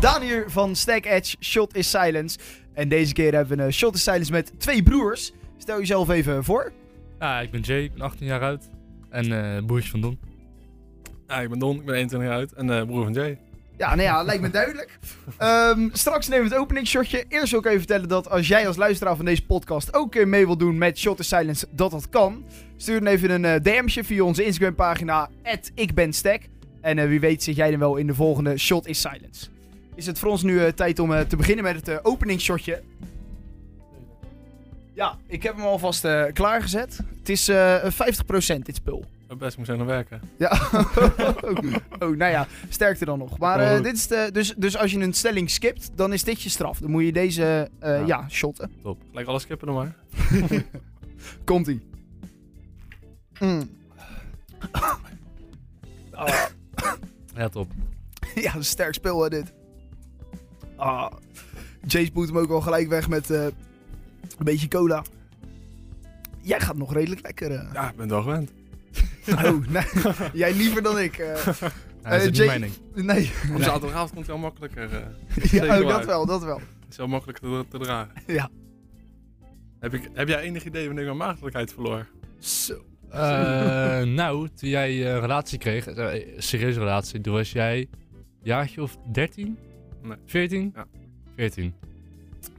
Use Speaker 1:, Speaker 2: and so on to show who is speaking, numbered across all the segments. Speaker 1: Daan hier van Stack Edge, Shot is Silence. En deze keer hebben we een eh, Shot is Silence met twee broers. Stel jezelf even voor.
Speaker 2: Ja, ik ben Jay, ik ben 18 jaar oud. En eh broertje van Don.
Speaker 3: Ja, ik ben Don, ik ben 21 jaar oud en eh, broer van Jay.
Speaker 1: Ja, nou ja, lijkt me duidelijk. Ehm, straks nemen we het openingsshotje. Eerst wil ik even vertellen dat als jij als luisteraar van deze podcast ook eh, mee wilt doen met Shot is Silence, dat dat kan. Stuur dan even een eh, DM'tje via onze Instagram pagina, ikbenstack. En eh, wie weet zit jij dan wel in de volgende Shot is Silence. Is het voor ons nu eh, tijd om eh, te beginnen met het eh, openingsshotje. Ja, ik heb hem alvast eh, klaargezet. Het is eh 50% dit spul.
Speaker 3: Het Oh, best moest aan werken.
Speaker 1: Ja. oh, nou ja, sterkte dan nog. Maar eh, dit is de, dus, dus als je een stelling skipt, dan is dit je straf. Dan moet je deze eh, ja.
Speaker 2: Ja.
Speaker 1: shotten.
Speaker 3: Gelijk alles kippen dan maar.
Speaker 1: Komt ie. Mm.
Speaker 2: Ja, top.
Speaker 1: ja, een sterk speel hè, dit. Ah. Jace boet hem ook al gelijk weg met eh, een beetje cola. Jij gaat nog redelijk lekker. eh.
Speaker 3: Ja, ik ben het wel gewend.
Speaker 1: Oh, nee. Jij liever dan ik. eh.
Speaker 2: Ja, dat
Speaker 1: Eh,
Speaker 2: is
Speaker 1: Jay-
Speaker 2: niet mijn ding.
Speaker 1: nee.
Speaker 3: Op zaterdagavond komt het heel makkelijker. eh.
Speaker 1: Ja,
Speaker 3: Zeker
Speaker 1: oh, dat
Speaker 3: waar.
Speaker 1: wel, dat wel.
Speaker 3: Het is heel makkelijk te, te dragen.
Speaker 1: Ja.
Speaker 3: Heb, ik, heb jij enig idee wanneer ik mijn maagdelijkheid verloor?
Speaker 1: Zo.
Speaker 2: Eh, nou, toen jij eh, een relatie kreeg, eh, een serieuze relatie, toen was jij een jaartje of 13?
Speaker 3: Nee.
Speaker 2: 14?
Speaker 3: Ja.
Speaker 2: 14.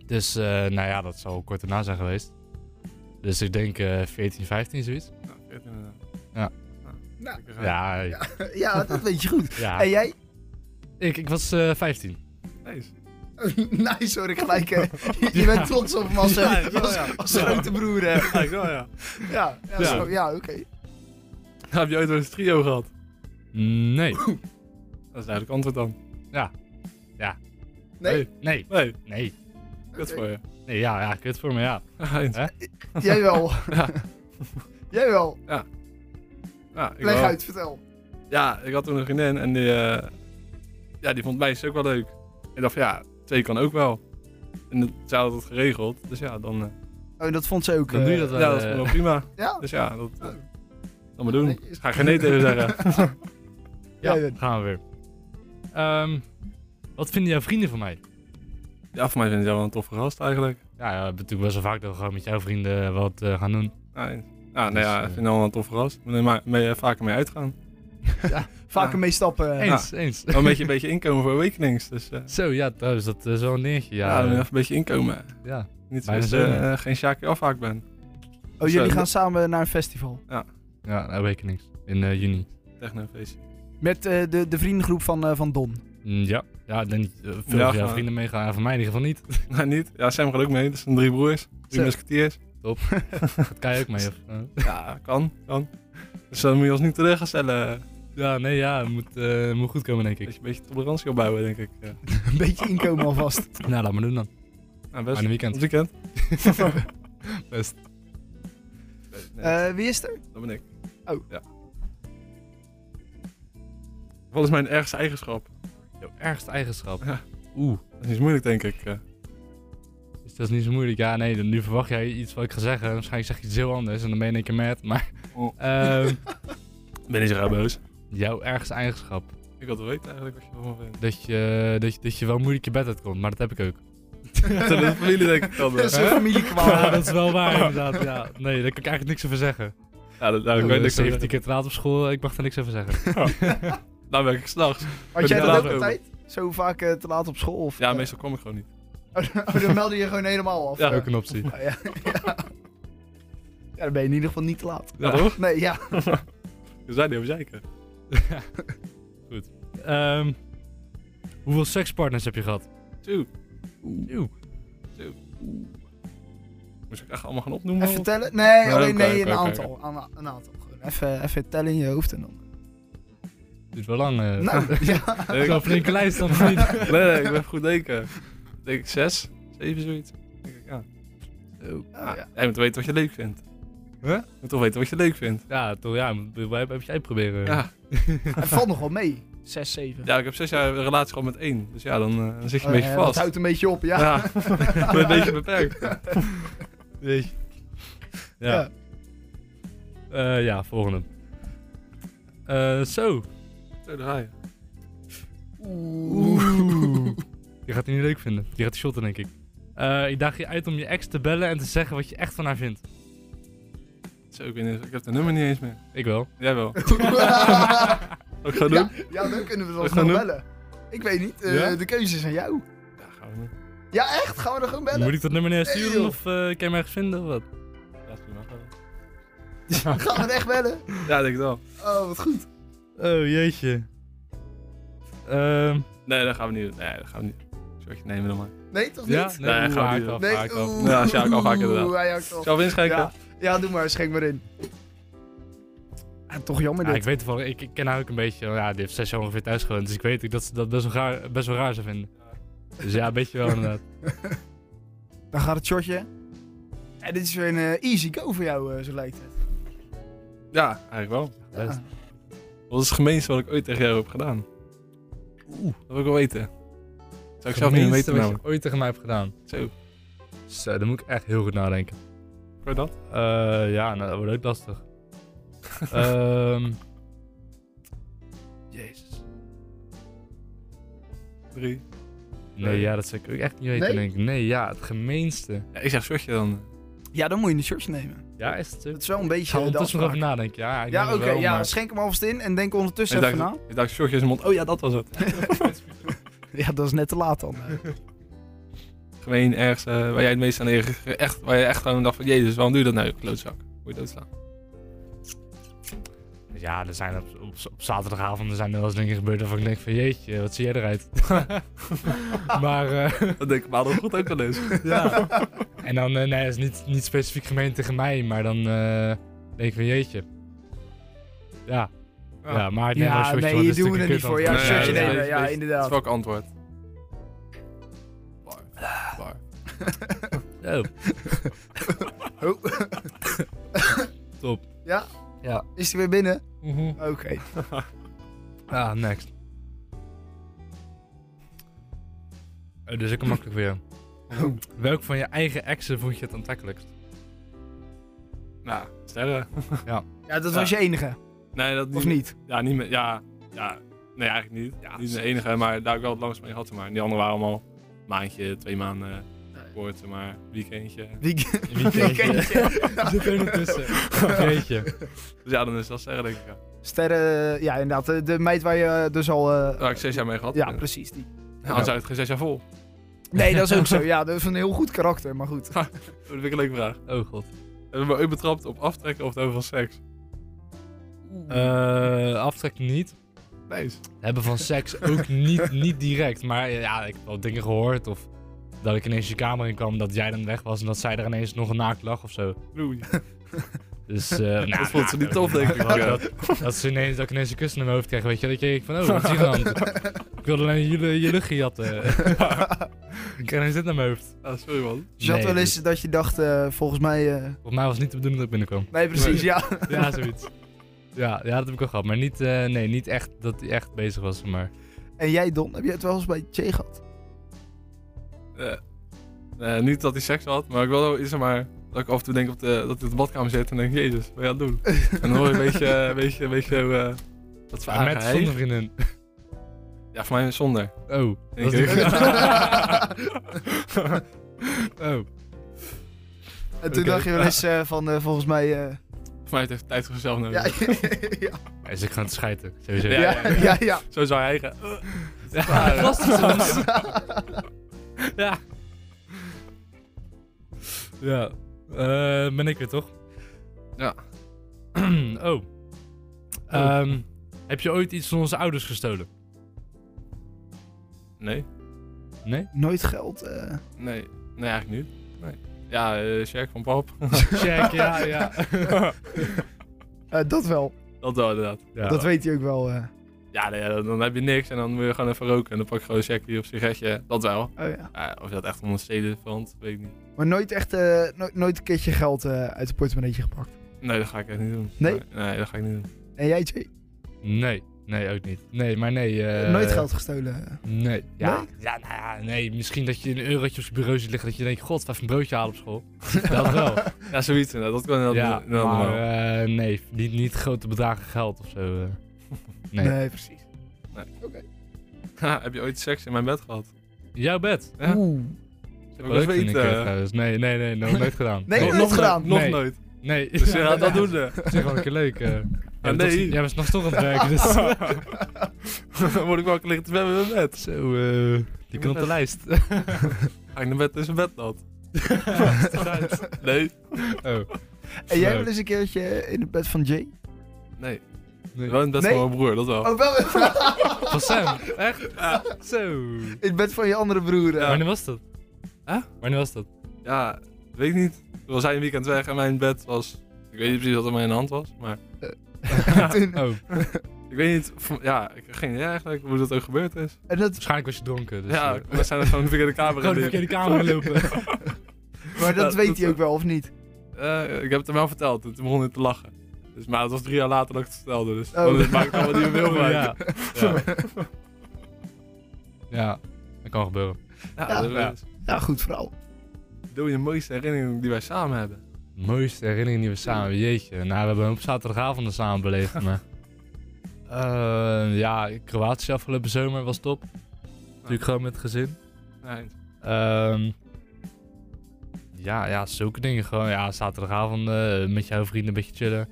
Speaker 2: Dus, eh, nou ja, dat zal kort daarna zijn geweest. Dus ik denk eh 14, 15, zoiets.
Speaker 3: Ja, Nou, ik weet het inderdaad.
Speaker 2: Ja.
Speaker 1: Nou,
Speaker 3: Ik eh, ga-
Speaker 2: Ja, ja.
Speaker 1: Ja, dat weet je goed.
Speaker 2: ja.
Speaker 1: En jij?
Speaker 2: Ik, ik was eh 15.
Speaker 3: Nice.
Speaker 1: Nee, sorry, gelijk. eh, je je bent trots op hem als, eh,
Speaker 3: Ja, ik wel,
Speaker 1: als,
Speaker 3: ja.
Speaker 1: als grote broer. hè.
Speaker 3: Ja, ik wel, ja.
Speaker 1: Ja, ja,
Speaker 2: Ja.
Speaker 1: zo, ja oké.
Speaker 3: Heb je ooit wel eens een trio gehad?
Speaker 2: Nee.
Speaker 3: Dat is duidelijk antwoord dan.
Speaker 1: Nee,
Speaker 2: Nee.
Speaker 3: Nee,
Speaker 2: Nee.
Speaker 3: kut voor je.
Speaker 2: Nee, ja, ja, kut voor me, ja.
Speaker 3: Eens.
Speaker 1: jij wel.
Speaker 3: Ja.
Speaker 1: jij wel.
Speaker 3: Ja, ik
Speaker 1: Leg
Speaker 3: wel.
Speaker 1: uit, vertel.
Speaker 3: Ja, ik had toen een vriendin en die, eh, ja, die vond meisjes ook wel leuk. Ik dacht van ja, twee kan ook wel. En dat- zij had het geregeld, dus ja, dan, eh,
Speaker 1: Oh, dat vond ze ook.
Speaker 2: Dan doe je dat wel. eh,
Speaker 3: ja, dat is wel prima.
Speaker 1: Ja?
Speaker 3: Dus ja, dat, eh,
Speaker 1: Oh.
Speaker 3: dan maar doen. Ga ik geen nee tegen zeggen.
Speaker 2: Ja,
Speaker 1: Jij bent-
Speaker 2: gaan we weer. Ehm, wat vinden jouw vrienden van mij?
Speaker 3: Ja, voor mij vind ik jou wel een toffe gast eigenlijk.
Speaker 2: Ja, ja, ik heb natuurlijk best wel vaak dat we gewoon met jouw vrienden wat eh, gaan doen.
Speaker 3: Ja, en- ja, nou
Speaker 2: Dus,
Speaker 3: ja,
Speaker 2: eh,
Speaker 3: ik vind jou wel een toffe gast. Ik moet er maar mee, eh, vaker mee uitgaan.
Speaker 1: Vaker
Speaker 3: Ja.
Speaker 1: mee stappen.
Speaker 2: Eens, eens.
Speaker 3: Wel een beetje, een beetje inkomen voor Awakenings. Dus eh,
Speaker 2: Zo, ja, trouwens, dat is wel een dingetje.
Speaker 3: ja,
Speaker 2: Ja,
Speaker 3: dan
Speaker 2: eh,
Speaker 3: even een beetje inkomen.
Speaker 2: ja.
Speaker 3: Niet
Speaker 2: Bijna
Speaker 3: zoals
Speaker 2: zo,
Speaker 3: eh,
Speaker 2: ja.
Speaker 3: geen Sjaakje afhaak ben.
Speaker 1: Oh, jullie
Speaker 3: Zo.
Speaker 1: gaan samen naar een festival.
Speaker 2: ja, nou Awakenings in eh, juni.
Speaker 3: Technofeest.
Speaker 1: Met eh, de, de vriendengroep van, eh, van Don.
Speaker 2: Mm, ja, ja, ik denk dat eh, veel
Speaker 3: Ja,
Speaker 2: van jouw
Speaker 3: gewoon.
Speaker 2: vrienden meegaan. Ja, Van mij in ieder geval niet.
Speaker 3: Nou, niet. Ja, Sam gaat ook mee. Dat zijn drie broers. Drie
Speaker 1: Zo.
Speaker 3: musketeers.
Speaker 2: Gaat Kai ook mee? Of, eh?
Speaker 3: Ja, kan, kan. Dus dan moet je ons niet terug gaan stellen. eh,
Speaker 2: Ja, nee, ja, het moet, eh, moet goed komen, denk
Speaker 3: Dat
Speaker 2: ik.
Speaker 3: je een beetje tolerantie opbouwen, denk ik. eh. Ja.
Speaker 1: een beetje inkomen alvast.
Speaker 2: Nou, laat maar doen dan.
Speaker 3: Nou,
Speaker 2: Aan
Speaker 3: best.
Speaker 2: een
Speaker 3: Het
Speaker 2: weekend.
Speaker 3: weekend.
Speaker 2: Best.
Speaker 3: Nee,
Speaker 1: Eh, wie is er?
Speaker 3: dat ben ik.
Speaker 1: oh.
Speaker 3: Ja. Wat is mijn ergste eigenschap?
Speaker 2: Jouw ergste eigenschap.
Speaker 3: Ja.
Speaker 2: Oeh,
Speaker 3: Dat is niet moeilijk, denk ik. eh.
Speaker 2: dus dat is niet zo moeilijk. Ja, nee, dan- nu verwacht jij iets wat ik ga zeggen. Waarschijnlijk zeg je iets heel anders en dan ben je in één keer mad. Maar
Speaker 3: Oh.
Speaker 2: ehm,
Speaker 3: Ben je zo raar boos?
Speaker 2: jouw ergste eigenschap.
Speaker 3: Ik wil het weten eigenlijk wat je ervan vindt.
Speaker 2: Dat je, dat, je, dat je wel moeilijk je bed uitkomt, maar dat heb ik ook.
Speaker 3: Dat is een familie, denk ik dan.
Speaker 1: Dat is een
Speaker 3: hè?
Speaker 2: Ja,
Speaker 1: familiekwaal.
Speaker 2: dat is wel waar inderdaad, ja. Nee, daar kan ik eigenlijk niks over zeggen.
Speaker 3: Ja, Oh, dat, daar
Speaker 2: Ik
Speaker 3: kan je
Speaker 2: ben
Speaker 3: niks over
Speaker 2: 17 keer te laat op school, ik mag daar niks over zeggen.
Speaker 3: zeggen. Daar Nou werk ik s'nachts.
Speaker 1: Had jij
Speaker 3: Ja,
Speaker 1: dat ook
Speaker 3: later.
Speaker 1: altijd? Zo vaak eh, te laat op school? Of,
Speaker 3: Ja,
Speaker 1: eh,
Speaker 3: meestal kom ik gewoon niet.
Speaker 1: Oh, dan- oh, dan meldde je gewoon helemaal af. Oh,
Speaker 3: Ja.
Speaker 2: Ook een optie.
Speaker 1: Ja, ja. ja. Ja, dan ben je in ieder geval niet te laat.
Speaker 3: Ja, toch?
Speaker 1: Nee, ja.
Speaker 3: We zijn niet over zeiken.
Speaker 2: Ehm, hoeveel sekspartners heb je gehad?
Speaker 3: Zo.
Speaker 2: Eeuw.
Speaker 3: Moest ik echt allemaal gaan opnoemen?
Speaker 1: Even tellen? Nee,
Speaker 3: Nee,
Speaker 1: alleen
Speaker 3: oké,
Speaker 1: nee,
Speaker 3: oké,
Speaker 1: een
Speaker 3: oké.
Speaker 1: aantal. Aan- Een aantal. Gewoon even, even tellen in je hoofd en dan.
Speaker 2: Duurt wel lang. eh.
Speaker 1: Nou, ja.
Speaker 3: Nee,
Speaker 2: Ik
Speaker 3: ik-
Speaker 2: heb een flinke lijst dan of niet.
Speaker 3: nee, nee, ik ben even goed denken. Ik Denk ik zes, zeven zoiets. Denk ik, ja.
Speaker 1: Ah, ja.
Speaker 3: ja. Jij moet weten wat je leuk vindt.
Speaker 2: Huh?
Speaker 3: Je moet toch weten wat je leuk vindt.
Speaker 2: Ja, toch, ja, moet- moet- moet- moet jij proberen.
Speaker 3: Ja,
Speaker 1: Het valt nog wel mee. 6, 7.
Speaker 3: ja ik heb zes jaar een relatie gehad met één. Dus ja, dan, eh, dan zit je een beetje
Speaker 1: Het
Speaker 3: vast.
Speaker 1: Oh, houdt een beetje op, ja.
Speaker 3: ja, ik ben een beetje beperkt.
Speaker 2: Nee. Ja.
Speaker 1: Ja.
Speaker 2: Eh, ja, volgende. Eh, zo.
Speaker 3: Zo draai je.
Speaker 1: Oeh.
Speaker 2: Je gaat die niet leuk vinden. Je gaat die shotten, denk ik. Eh, ik daag je uit om je ex te bellen en te zeggen wat je echt van haar vindt.
Speaker 3: Zo, ik, weet niet, ik heb de nummer niet eens meer.
Speaker 2: Ik wel.
Speaker 3: Jij wel.
Speaker 1: ja,
Speaker 3: Ook gaan doen?
Speaker 1: ja, dan kunnen we
Speaker 3: We gaan
Speaker 1: dan gewoon
Speaker 3: doen.
Speaker 1: bellen. Ik weet niet, eh,
Speaker 3: Ja?
Speaker 1: de keuze is aan jou.
Speaker 3: Ja, gaan we doen.
Speaker 1: Ja, echt? Gaan we dan gewoon bellen?
Speaker 2: Moet ik dat nummer naar je
Speaker 1: Nee,
Speaker 2: sturen
Speaker 1: joh.
Speaker 2: of eh, kan je mij ergens vinden of wat?
Speaker 3: Ja, is prima.
Speaker 1: Gaan we dan echt bellen?
Speaker 3: Ja, ik denk het wel.
Speaker 1: Oh, wat goed.
Speaker 2: Oh, jeetje. Ehm
Speaker 3: Nee, dat gaan we niet doen. Nee, dat gaan we niet doen. Shotje nemen dan maar.
Speaker 1: Nee, toch niet?
Speaker 2: ja, nee,
Speaker 3: Nee, gaan
Speaker 2: oeh,
Speaker 3: we
Speaker 2: haak
Speaker 3: niet
Speaker 2: af,
Speaker 1: nee,
Speaker 2: haak af.
Speaker 1: oeh,
Speaker 3: Ja, Sjaak, al vaak inderdaad.
Speaker 1: oeh, hij haakt af.
Speaker 3: Zelf inschenken?
Speaker 1: Ja. ja, doe maar, schenk maar in. Ja, toch jammer
Speaker 2: Ja,
Speaker 1: dit.
Speaker 2: ik weet wel, ik, ik ken haar ook een beetje. Ja, die heeft zes jaar ongeveer thuis gewoond, dus ik weet ook dat ze dat best wel raar, best wel raar zou vinden. Dus ja, een beetje wel inderdaad.
Speaker 1: Dan gaat het shortje. Ja, dit is weer een eh, easy go voor jou, eh, zo lijkt het.
Speaker 3: Ja, eigenlijk wel.
Speaker 2: Best.
Speaker 3: Wat is het gemeenste wat ik ooit tegen jou heb gedaan? Oeh, dat wil ik wel weten. Zou ik zelf niet
Speaker 2: Gemeenste
Speaker 3: weten
Speaker 2: wat
Speaker 3: namelijk.
Speaker 2: je ooit tegen mij hebt gedaan.
Speaker 3: Zo,
Speaker 2: Zo, daar moet ik echt heel goed nadenken.
Speaker 3: hoor je dat?
Speaker 2: Eh, ja, nou, dat wordt ook lastig. Ehm Jezus.
Speaker 3: Drie.
Speaker 2: Nee, ja, dat zou ik ook echt niet weten,
Speaker 1: Nee?
Speaker 2: denk ik. Nee, ja, het gemeenste.
Speaker 3: Ja, ik zeg shortje dan.
Speaker 1: Ja, dan moet je een shortje nemen.
Speaker 2: Ja, is het zo?
Speaker 1: Dat is wel een
Speaker 2: Ik ga
Speaker 1: beetje de
Speaker 2: ondertussen nog even
Speaker 1: afspraak.
Speaker 2: nadenken. Ja, ik
Speaker 1: Ja,
Speaker 2: denk
Speaker 1: oké.
Speaker 2: het wel,
Speaker 1: ja,
Speaker 2: maar-
Speaker 1: schenk hem alvast in en denk ondertussen
Speaker 3: Ik
Speaker 1: even na.
Speaker 3: Ik dacht shortje in zijn mond. Oh ja, dat was het.
Speaker 1: Ja, dat is net te laat dan.
Speaker 3: Gemeen ergens eh, waar jij het meest aan erg, echt, waar je echt gewoon dacht van, jezus, waarom doe je dat nou, je klootzak? Moet je doodslaan.
Speaker 2: Ja, er zijn op, op, op zaterdagavond er zijn er wel eens dingen gebeurd waarvan ik denk van jeetje, wat zie jij eruit? maar, eh,
Speaker 3: Dat denk ik maar dat goed ook wel eens.
Speaker 2: ja. En dan, eh, nee, dat is niet, niet specifiek gemeen tegen mij, maar dan eh, denk ik van jeetje. Ja, ja. maar ik neem wel
Speaker 1: Ja,
Speaker 2: een shotje,
Speaker 1: nee,
Speaker 2: want
Speaker 1: hier
Speaker 2: het is
Speaker 1: doen we
Speaker 2: natuurlijk
Speaker 1: het
Speaker 2: een
Speaker 1: niet voor.
Speaker 2: kut
Speaker 1: Ja,
Speaker 3: Nee,
Speaker 1: shirtje
Speaker 3: nee,
Speaker 1: nemen.
Speaker 3: nee,
Speaker 1: Ja,
Speaker 3: nee. Dat is
Speaker 1: inderdaad.
Speaker 3: welk antwoord. Ah. Bar. Bar.
Speaker 2: antwoord.
Speaker 1: Oh.
Speaker 2: Oh. Top.
Speaker 1: Ja?
Speaker 2: Ja.
Speaker 1: Is hij weer binnen?
Speaker 2: Oh. Mhm.
Speaker 1: Oké.
Speaker 2: Ah, next. Oh, dus ik makkelijk weer.
Speaker 1: Oh.
Speaker 2: Welk van je eigen exen vond je het aantrekkelijkst?
Speaker 3: Nou, sterren.
Speaker 1: Ja, dat
Speaker 3: Ja.
Speaker 1: was je enige.
Speaker 3: Nee, dat
Speaker 1: Of niet?
Speaker 3: Ja, niet meer. Ja, ja. Nee, eigenlijk niet.
Speaker 2: Ja,
Speaker 3: niet de
Speaker 2: zeker.
Speaker 3: enige, maar daar heb ik wel het langst mee gehad. Zeg maar. En Die anderen waren allemaal een maandje, twee maanden
Speaker 1: Nee.
Speaker 3: eh, kort, zeg maar. Weekendje.
Speaker 1: Weekend.
Speaker 2: Er zit er nog tussen. Jeetje.
Speaker 3: Dus ja, dan is dat sterren, denk ik. Ja.
Speaker 1: Sterren, ja inderdaad. De, de meid waar je eh, dus al... eh,
Speaker 3: Daar heb ik zes jaar mee gehad.
Speaker 1: ja,
Speaker 3: Eh,
Speaker 1: precies. Die.
Speaker 3: ja, Anders zou het geen zes jaar vol.
Speaker 1: Nee, dat is ook zo. Ja, dat is een heel goed karakter, maar goed.
Speaker 3: Dat vind ik een leuke vraag.
Speaker 2: Oh god.
Speaker 3: Hebben we me ooit betrapt op aftrekken of het over van seks?
Speaker 2: Eh aftrek niet.
Speaker 3: Nice.
Speaker 2: Hebben van seks ook niet, niet direct. Maar eh, ja, ik heb wel dingen gehoord. Of dat ik ineens je kamer in kwam, dat jij dan weg was. En dat zij er ineens nog een naakt lag of zo.
Speaker 3: Oei.
Speaker 2: Dus, eh nou,
Speaker 3: dat vond ze
Speaker 2: nou,
Speaker 3: niet tof, denk ik.
Speaker 2: dat- Dat, dat, ze ineens, dat ik ineens een kus naar mijn hoofd kreeg, weet je. Dat je ik van, oh, wat is hier aan de hand? Ik wilde alleen je, je luchtje jatten. ik kreeg ineens dit naar mijn hoofd.
Speaker 3: Ja, sorry man.
Speaker 1: Dus je had
Speaker 2: Nee,
Speaker 1: wel
Speaker 2: dus
Speaker 1: eens dat je dacht, eh, volgens mij... eh,
Speaker 2: Volgens mij was het niet de bedoeling dat ik binnenkwam.
Speaker 1: Nee, precies, ja.
Speaker 2: Ja, zoiets. Ja, ja, dat heb ik al gehad. Maar niet, eh, nee, niet echt dat hij echt bezig was. Maar
Speaker 1: En jij, Don, heb je het wel eens bij Jay gehad?
Speaker 3: Eh, eh, niet dat hij seks had, maar ik wel is zeg maar dat ik af en toe denk op de, dat ik op de badkamer zit en denk, jezus, wat ben je aan het doen? en dan hoor je een beetje, eh, een beetje, een beetje zo, eh, dat
Speaker 2: Ja,
Speaker 3: zware
Speaker 2: met
Speaker 3: geheim.
Speaker 2: zonder vriendin.
Speaker 3: Ja, voor mij zonder.
Speaker 2: Oh, dat
Speaker 3: Ik-
Speaker 2: is Oh,
Speaker 1: En toen
Speaker 2: Oké.
Speaker 1: dacht je wel eens eh, van, eh, volgens mij... eh,
Speaker 3: Voor mij heeft tijd voor zichzelf
Speaker 1: ja,
Speaker 3: nodig.
Speaker 1: ja,
Speaker 2: hij is ik gewoon te schijten. Sowieso.
Speaker 3: Ja,
Speaker 1: ja, ja, ja.
Speaker 3: Zo zou hij gaan. eh,
Speaker 2: Ja, dat was het zo. Ja. Ja. Eh, ben ik weer, toch?
Speaker 3: Ja.
Speaker 2: oh. Ehm, heb je ooit iets van onze ouders gestolen?
Speaker 3: Nee,
Speaker 2: Nee?
Speaker 1: Nooit geld. eh.
Speaker 3: nee, nee, eigenlijk niet. Nee. Ja, eh Sjaak van pap.
Speaker 2: Check, ja, ja.
Speaker 1: Eh, dat wel.
Speaker 3: Dat wel inderdaad.
Speaker 2: Ja.
Speaker 1: Dat weet hij ook wel. eh.
Speaker 3: Ja, nee, dan, dan heb je niks en dan moet je gewoon even roken. En dan pak je gewoon een checkie of sigaretje. Dat wel.
Speaker 1: Oh, ja.
Speaker 3: Ja, Eh, of je dat echt om een steden verant, weet ik niet.
Speaker 1: Maar nooit echt, eh, no- nooit een keertje geld eh, uit het portemonneetje gepakt.
Speaker 3: Nee, dat ga ik echt niet doen.
Speaker 1: Nee?
Speaker 3: Nee, nee, dat ga ik niet doen.
Speaker 1: En jij, Jay?
Speaker 2: Nee, nee, ook niet. Nee, maar nee. eh,
Speaker 1: nooit geld gestolen.
Speaker 2: Nee. Ja, ja, nou ja, nee. Misschien dat je een eurotje op je bureau ziet liggen dat je denkt, god, even een broodje halen op school. Dat wel.
Speaker 3: Ja, zoiets inderdaad. Dat kan inderdaad
Speaker 2: ja,
Speaker 3: inderdaad
Speaker 2: maar
Speaker 3: wel.
Speaker 2: eh, nee, niet, niet grote bedragen geld of zo. eh. Nee.
Speaker 1: precies.
Speaker 2: eh,
Speaker 3: Ha, heb je ooit seks in mijn bed gehad?
Speaker 2: Jouw bed.
Speaker 3: Ja.
Speaker 1: Oeh.
Speaker 3: Ik wil
Speaker 2: Leuk vind ik
Speaker 3: weten. eh,
Speaker 2: het trouwens. Nee, nee, nee, nog nooit gedaan.
Speaker 1: Nee,
Speaker 3: Nog-
Speaker 1: nooit
Speaker 3: nog
Speaker 1: gedaan.
Speaker 3: Nog
Speaker 2: Nee.
Speaker 3: nooit.
Speaker 2: Nee,
Speaker 3: Dus ja,
Speaker 2: Ja,
Speaker 3: dat doen ze.
Speaker 2: Dat is wel een keer leuk. eh. Ja,
Speaker 3: Ah,
Speaker 2: nee.
Speaker 3: nee.
Speaker 2: Jij was nog toch aan het werken, dus...
Speaker 3: Dan word ik wakker liggen te zwemmen in mijn bed.
Speaker 2: Zo, eh je kan op de lijst.
Speaker 3: Ga ik naar bed, is mijn bed nat.
Speaker 2: Eruit.
Speaker 3: Nee.
Speaker 2: oh,
Speaker 1: En jij
Speaker 2: Leuk.
Speaker 1: wel eens een keertje in het bed van Jay?
Speaker 3: Nee.
Speaker 2: nee.
Speaker 3: Wel in het bed
Speaker 1: Nee?
Speaker 3: van mijn broer, dat wel.
Speaker 1: Oh, wel
Speaker 2: Van Sam, echt? Zo.
Speaker 1: in het bed van je andere broer. eh.
Speaker 2: Wanneer was dat?
Speaker 3: Huh?
Speaker 2: Wanneer was dat?
Speaker 3: Ja, weet ik niet. Toen was hij een weekend weg en mijn bed was... Ik weet niet precies wat er mee in de hand was, maar...
Speaker 1: Toen-
Speaker 2: Oh,
Speaker 3: Ik weet niet, van- ja, ik heb geen idee eigenlijk hoe dat ook gebeurd is.
Speaker 1: en dat,
Speaker 2: waarschijnlijk was je dronken. Dus,
Speaker 3: ja,
Speaker 2: eh,
Speaker 3: we zijn er gewoon weer in de kamer
Speaker 2: gewoon een keer in de kamer lopen.
Speaker 1: maar dat
Speaker 3: Ja,
Speaker 1: weet
Speaker 3: dat-
Speaker 1: hij ook wel, of niet?
Speaker 3: Eh, ik heb het hem wel verteld en toen begon hij te lachen. Dus, maar het was drie jaar later dat ik het vertelde, dus
Speaker 1: Oh.
Speaker 3: dat maakt allemaal niet meer veel van uit.
Speaker 2: ja. ja. Ja, dat kan gebeuren.
Speaker 3: Ja,
Speaker 1: Ja.
Speaker 3: dat
Speaker 2: Ja.
Speaker 3: is-
Speaker 1: Ja, goed verhaal.
Speaker 3: Doe je mooiste herinnering die wij samen hebben?
Speaker 2: Mooiste herinnering die we samen hebben. Jeetje, nou, we hebben hem op zaterdagavond er samen beleefd. Maar... Eh, ja, Kroatië afgelopen zomer was top. Natuurlijk gewoon met het gezin.
Speaker 3: Nee.
Speaker 2: Ehm, ja, ja, zulke dingen. Gewoon, ja, zaterdagavond eh, met jouw vrienden een beetje chillen.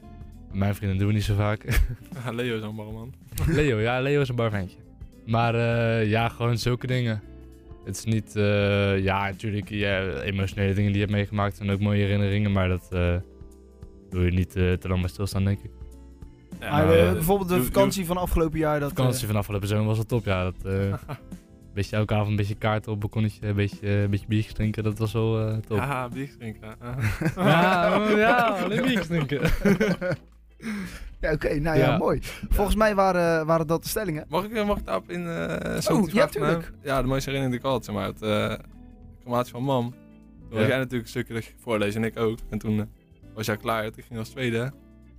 Speaker 2: Mijn vrienden doen we niet zo vaak.
Speaker 3: Ja, Leo is een man.
Speaker 2: Leo, ja, Leo is een barventje. Maar eh, ja, gewoon zulke dingen. Het is niet, eh, ja, natuurlijk ja, emotionele dingen die je hebt meegemaakt en ook mooie herinneringen, maar dat eh wil je niet eh, te lang bij stilstaan, denk ik.
Speaker 3: Ja,
Speaker 1: Maar,
Speaker 2: eh,
Speaker 1: eh, bijvoorbeeld de
Speaker 3: doe-
Speaker 1: vakantie van afgelopen jaar. Dat, eh,
Speaker 2: Vakantie vanaf afgelopen zomer was wel top, ja. Dat, eh, een beetje elke avond een beetje kaarten op, balkonnetje, een beetje, een beetje biertjes drinken, dat was wel eh, top.
Speaker 3: Haha, bier drinken. Ah.
Speaker 2: Ja, oh, ja, alleen biertjes drinken.
Speaker 1: ja, Oké, nou ja,
Speaker 2: Ja.
Speaker 1: mooi. Volgens mij waren, eh, waren dat de stellingen.
Speaker 3: Mag ik, mag ik daarop in eh zo'n
Speaker 1: Oh,
Speaker 3: vraag
Speaker 1: ja,
Speaker 3: van hem?
Speaker 1: tuurlijk.
Speaker 3: Ja, de mooiste herinnering die ik had, zeg maar. Het eh crematie van mam. Toen was
Speaker 2: Ja.
Speaker 3: jij natuurlijk een stukje dat je voorlees en ik ook. En toen eh, was jij klaar. Ik ging als tweede.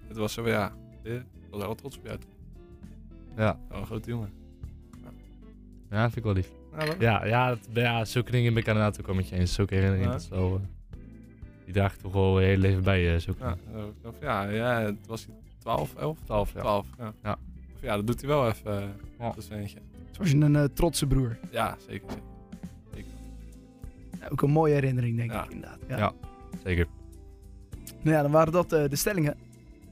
Speaker 3: Het was zo van, ja, eh, ik was er wel trots op jou.
Speaker 2: Ja.
Speaker 3: Oh, een grote jongen.
Speaker 2: Ja, vind ik wel lief.
Speaker 3: Ja,
Speaker 1: Nou,
Speaker 3: dat-
Speaker 2: Ja, ja, dat- ja zulke dingen ben ik inderdaad ook wel met je eens. Zulke herinneringen,
Speaker 3: Ja.
Speaker 2: dat is wel, eh, die draag je toch wel je hele leven bij je. Zulke
Speaker 3: ja, zo, ik dacht van, ja, ja, het was hij 12, 11?
Speaker 2: 12 jaar.
Speaker 3: 12, ja.
Speaker 2: Ja.
Speaker 3: Of Ja, dat doet hij wel even, eh,
Speaker 2: Ja.
Speaker 3: dat ventje.
Speaker 1: Zoals een eh, trotse broer.
Speaker 3: Ja, zeker. zeker.
Speaker 1: Ja, ook een mooie herinnering, denk
Speaker 3: Ja.
Speaker 1: ik inderdaad. Ja.
Speaker 2: Ja. Zeker.
Speaker 1: Nou ja, dan waren dat eh, de stellingen.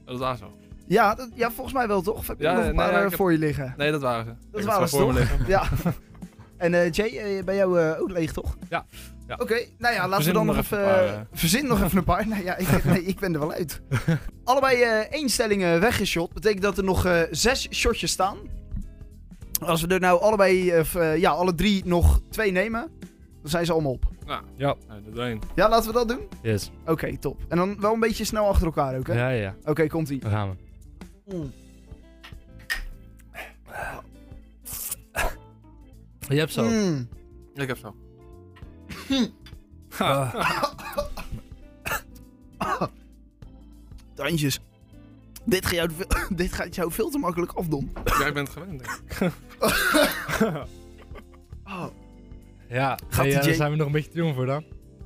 Speaker 3: Dat is aan zo.
Speaker 1: Ja, dat- ja, volgens mij wel toch? Of heb je
Speaker 3: Ja,
Speaker 1: nog een
Speaker 3: nee,
Speaker 1: paar
Speaker 3: ja, ik
Speaker 1: eh,
Speaker 3: heb-
Speaker 1: voor je liggen?
Speaker 3: Nee, dat waren ze.
Speaker 1: Dat
Speaker 3: Ik
Speaker 1: waren
Speaker 3: had
Speaker 1: ze
Speaker 3: voor me
Speaker 1: toch?
Speaker 3: liggen.
Speaker 1: Ja. En eh, Jay, eh, bij jou eh, ook leeg, toch?
Speaker 2: Ja. Ja.
Speaker 1: Oké, nou ja, laten we
Speaker 3: Verzin
Speaker 1: dan
Speaker 3: nog
Speaker 1: nog even...
Speaker 3: even een paar,
Speaker 1: eh,
Speaker 3: eh.
Speaker 1: Verzin nog even een paar. Nou ja, ik, nee, ik ben er wel uit. Allebei eh één stelling eh, weggeschot. Betekent dat er nog eh, zes shotjes staan. Als we er nou allebei, eh, v- eh, ja, alle drie nog twee nemen, dan zijn ze allemaal op.
Speaker 3: Ja.
Speaker 2: Ja.
Speaker 3: Nou, dat één.
Speaker 1: Ja, laten we dat doen?
Speaker 2: Yes.
Speaker 1: Oké, top. En dan wel een beetje snel achter elkaar ook, hè?
Speaker 2: Ja, ja,
Speaker 1: Oké, komt-ie.
Speaker 2: daar gaan we. Je hebt zo.
Speaker 1: Mm.
Speaker 3: Ik heb zo.
Speaker 1: Tandjes. Dit gaat, jou, veel- dit gaat jou veel te makkelijk afdoen.
Speaker 3: Jij bent gewend, denk ik.
Speaker 1: Oh,
Speaker 2: Ja,
Speaker 1: Gaat
Speaker 2: nee,
Speaker 1: die
Speaker 2: ja, daar
Speaker 1: Jay-
Speaker 2: zijn we nog een beetje te jong voor dan.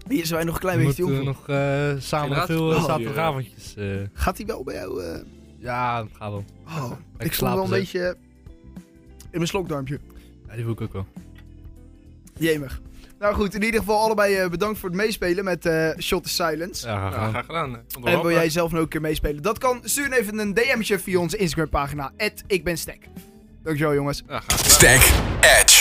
Speaker 1: hier zijn wij nog een klein
Speaker 2: We
Speaker 1: beetje
Speaker 2: moeten
Speaker 1: jong. voor.
Speaker 2: nog eh, samen nog
Speaker 3: Generatie-
Speaker 2: veel eh,
Speaker 1: Oh.
Speaker 2: zaterdagavondjes. eh,
Speaker 1: Gaat hij wel bij jou? eh,
Speaker 2: ja, dat gaat wel.
Speaker 1: Oh, ik, stond
Speaker 2: Ik slaap
Speaker 1: wel een
Speaker 2: dus.
Speaker 1: beetje in mijn slokdarmpje.
Speaker 2: Ja, die wil ik ook wel.
Speaker 1: Jemig. Nou goed, in ieder geval allebei eh, bedankt voor het meespelen met eh Shot the Silence.
Speaker 2: Ja,
Speaker 3: Ja,
Speaker 2: gaan we.
Speaker 3: graag gedaan. hè. Komt wel
Speaker 1: En wil
Speaker 3: op,
Speaker 1: jij zelf nou ook een keer meespelen? Dat kan. Stuur even een DM'tje via onze Instagram pagina. Ik ben Dankjewel jongens.
Speaker 3: hè. Ja, graag gedaan.
Speaker 4: Stack Edge.